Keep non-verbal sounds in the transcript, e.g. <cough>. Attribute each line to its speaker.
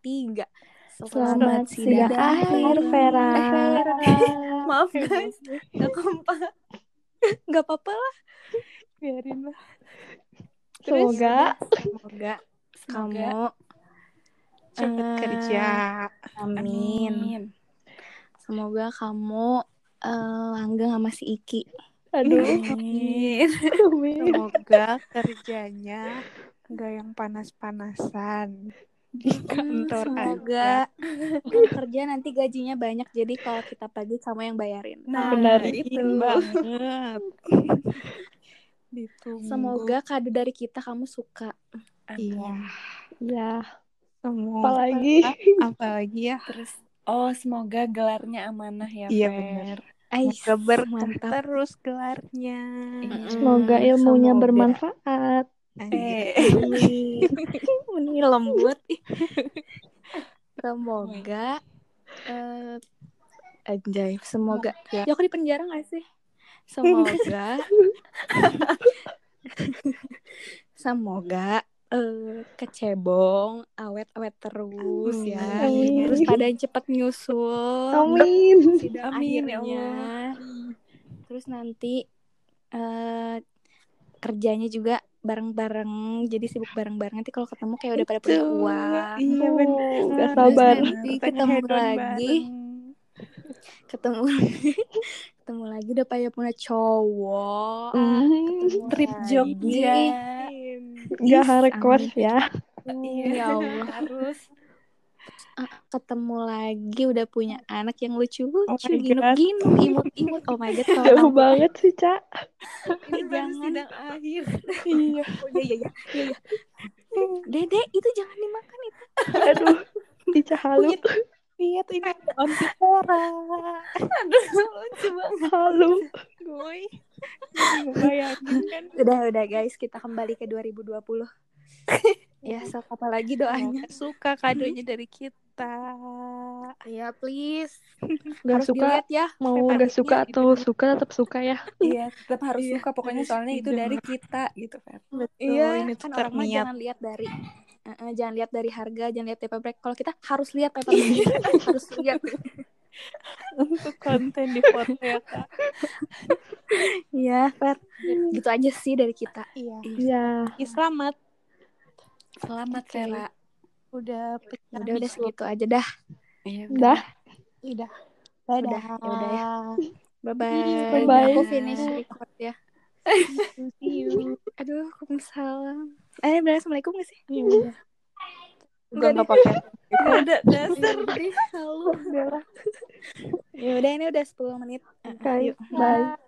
Speaker 1: tiga.
Speaker 2: Selamat siang akhir, Vera.
Speaker 1: Eh, Maaf guys, nggak kompak. <laughs> Nggak apa-apa lah.
Speaker 2: Biarin lah.
Speaker 1: Terus,
Speaker 2: Semoga
Speaker 1: Semoga kamu
Speaker 3: Cepet
Speaker 1: eh,
Speaker 3: kerja.
Speaker 1: Amin. Semoga kamu eh, langgeng sama si Iki.
Speaker 2: aduh
Speaker 1: Iya. <laughs> Amin.
Speaker 2: amin.
Speaker 3: Semoga kerjanya nggak yang panas-panasan di kantor
Speaker 1: Hmm, Semoga
Speaker 3: aja.
Speaker 1: kalau <laughs> kerja nanti gajinya banyak jadi kalau kita pagi kamu yang bayarin.
Speaker 3: Nah,
Speaker 2: Benar
Speaker 3: itu
Speaker 2: itu.
Speaker 3: banget. Ditunggu.
Speaker 1: Semoga kado dari kita kamu suka.
Speaker 3: iya.
Speaker 2: ya
Speaker 3: Semoga.
Speaker 2: apalagi
Speaker 3: Apalagi ya.
Speaker 4: Terus oh semoga gelarnya amanah ya,
Speaker 3: Iya,
Speaker 4: Fer.
Speaker 3: bener.
Speaker 1: Ais,
Speaker 3: Semoga berkah
Speaker 1: mantap.
Speaker 3: terus gelarnya.
Speaker 2: semoga ilmunya
Speaker 3: semoga.
Speaker 2: bermanfaat
Speaker 3: Anjir.
Speaker 4: Eh,
Speaker 1: Ini <laughs> lembut. Semoga eh, anjay, semoga. Ya aku di penjara gak sih? Semoga Semoga eh, kecebong awet-awet terus ya.
Speaker 2: Amin.
Speaker 1: Terus pada cepet nyusul.
Speaker 2: amin
Speaker 1: Sidang
Speaker 4: Amin, ya
Speaker 1: akhirnya. Terus nanti eh, kerjanya juga bareng-bareng, jadi sibuk bareng-bareng. Nanti kalau ketemu kayak udah pada punya
Speaker 3: Itu.
Speaker 1: uang.
Speaker 3: Gitu. Iya
Speaker 2: Aduh,
Speaker 3: benar.
Speaker 2: nggak sabar.
Speaker 3: Terus nanti
Speaker 1: Pengen hedon Ketemu <laughs> ketemu lagi udah pada punya cowok.
Speaker 3: Mm.
Speaker 2: Hmm,
Speaker 4: Ketemu
Speaker 3: Trip
Speaker 4: lagi.
Speaker 3: iya.
Speaker 1: Jogja.
Speaker 2: nggak
Speaker 1: Is,
Speaker 2: hardcore
Speaker 1: amin.
Speaker 2: ya
Speaker 4: Iya,
Speaker 1: Ya Allah.
Speaker 4: harus.
Speaker 1: Ah, Ketemu lagi udah punya anak yang
Speaker 3: Oh
Speaker 1: lucu-lucu,
Speaker 3: my God.
Speaker 1: gini imut-imut. Oh my god,
Speaker 3: <laughs>
Speaker 1: kalau
Speaker 2: jauh
Speaker 1: nanti-
Speaker 2: banget sih cak
Speaker 4: Ini baru
Speaker 1: Jangan.
Speaker 4: sidang akhir.
Speaker 3: <laughs>
Speaker 2: iya
Speaker 1: Oh, iya, iya, iya, iya, iya. Dede itu jangan dimakan itu.
Speaker 2: aduh Ica halu
Speaker 3: Lihat ini on Pora.
Speaker 4: Aduh, lucu banget.
Speaker 2: halu
Speaker 3: Gue. Bayangin kan.
Speaker 1: Udah, udah guys, kita kembali ke 2020. <laughs> ya, sok apalagi doanya.
Speaker 3: Semoga suka kadonya dari kita.
Speaker 1: Ya, please.
Speaker 2: nggak
Speaker 1: Harus
Speaker 2: suka
Speaker 1: dilihat ya.
Speaker 2: mau
Speaker 1: Februari
Speaker 2: nggak
Speaker 1: ini
Speaker 2: suka
Speaker 1: gitu.
Speaker 2: atau suka tetap suka ya
Speaker 4: Iya, tetap harus
Speaker 3: Iya,
Speaker 4: suka pokoknya
Speaker 3: harus
Speaker 4: soalnya itu
Speaker 3: hidup.
Speaker 4: dari kita gitu, Fer.
Speaker 3: Iya, ini
Speaker 1: kan
Speaker 3: tuh
Speaker 1: orang mah
Speaker 3: terniat.
Speaker 1: jangan lihat dari Eh, eh, jangan lihat dari harga, jangan lihat paper bag. Kalau kita harus lihat paper bag. <laughs> harus lihat.
Speaker 3: <laughs> Untuk konten di foto ya kak.
Speaker 1: Iya, Fer. Gitu aja sih dari kita.
Speaker 3: Iya.
Speaker 2: iya
Speaker 3: Ih, Selamat.
Speaker 4: Selamat,
Speaker 1: Oke.
Speaker 4: Vera.
Speaker 3: Udah pecah.
Speaker 1: Udah udah segitu aja dah.
Speaker 4: Iya,
Speaker 2: dah
Speaker 3: Udah. Dadah.
Speaker 1: ya udah
Speaker 3: <laughs>
Speaker 1: ya. Bye
Speaker 2: Bye
Speaker 1: bye.
Speaker 2: bye.
Speaker 1: Iya, Aku finish record ya.
Speaker 3: See you.
Speaker 1: Aduh, Waalaikumsalam. Eh, benar Assalamualaikum gak sih?
Speaker 3: Udah Iya, nggak pakai.
Speaker 4: Ada dasar.
Speaker 1: Halo. Ya udah ini udah 10 menit. Eh, eh,
Speaker 2: guys
Speaker 1: yuk.
Speaker 2: bye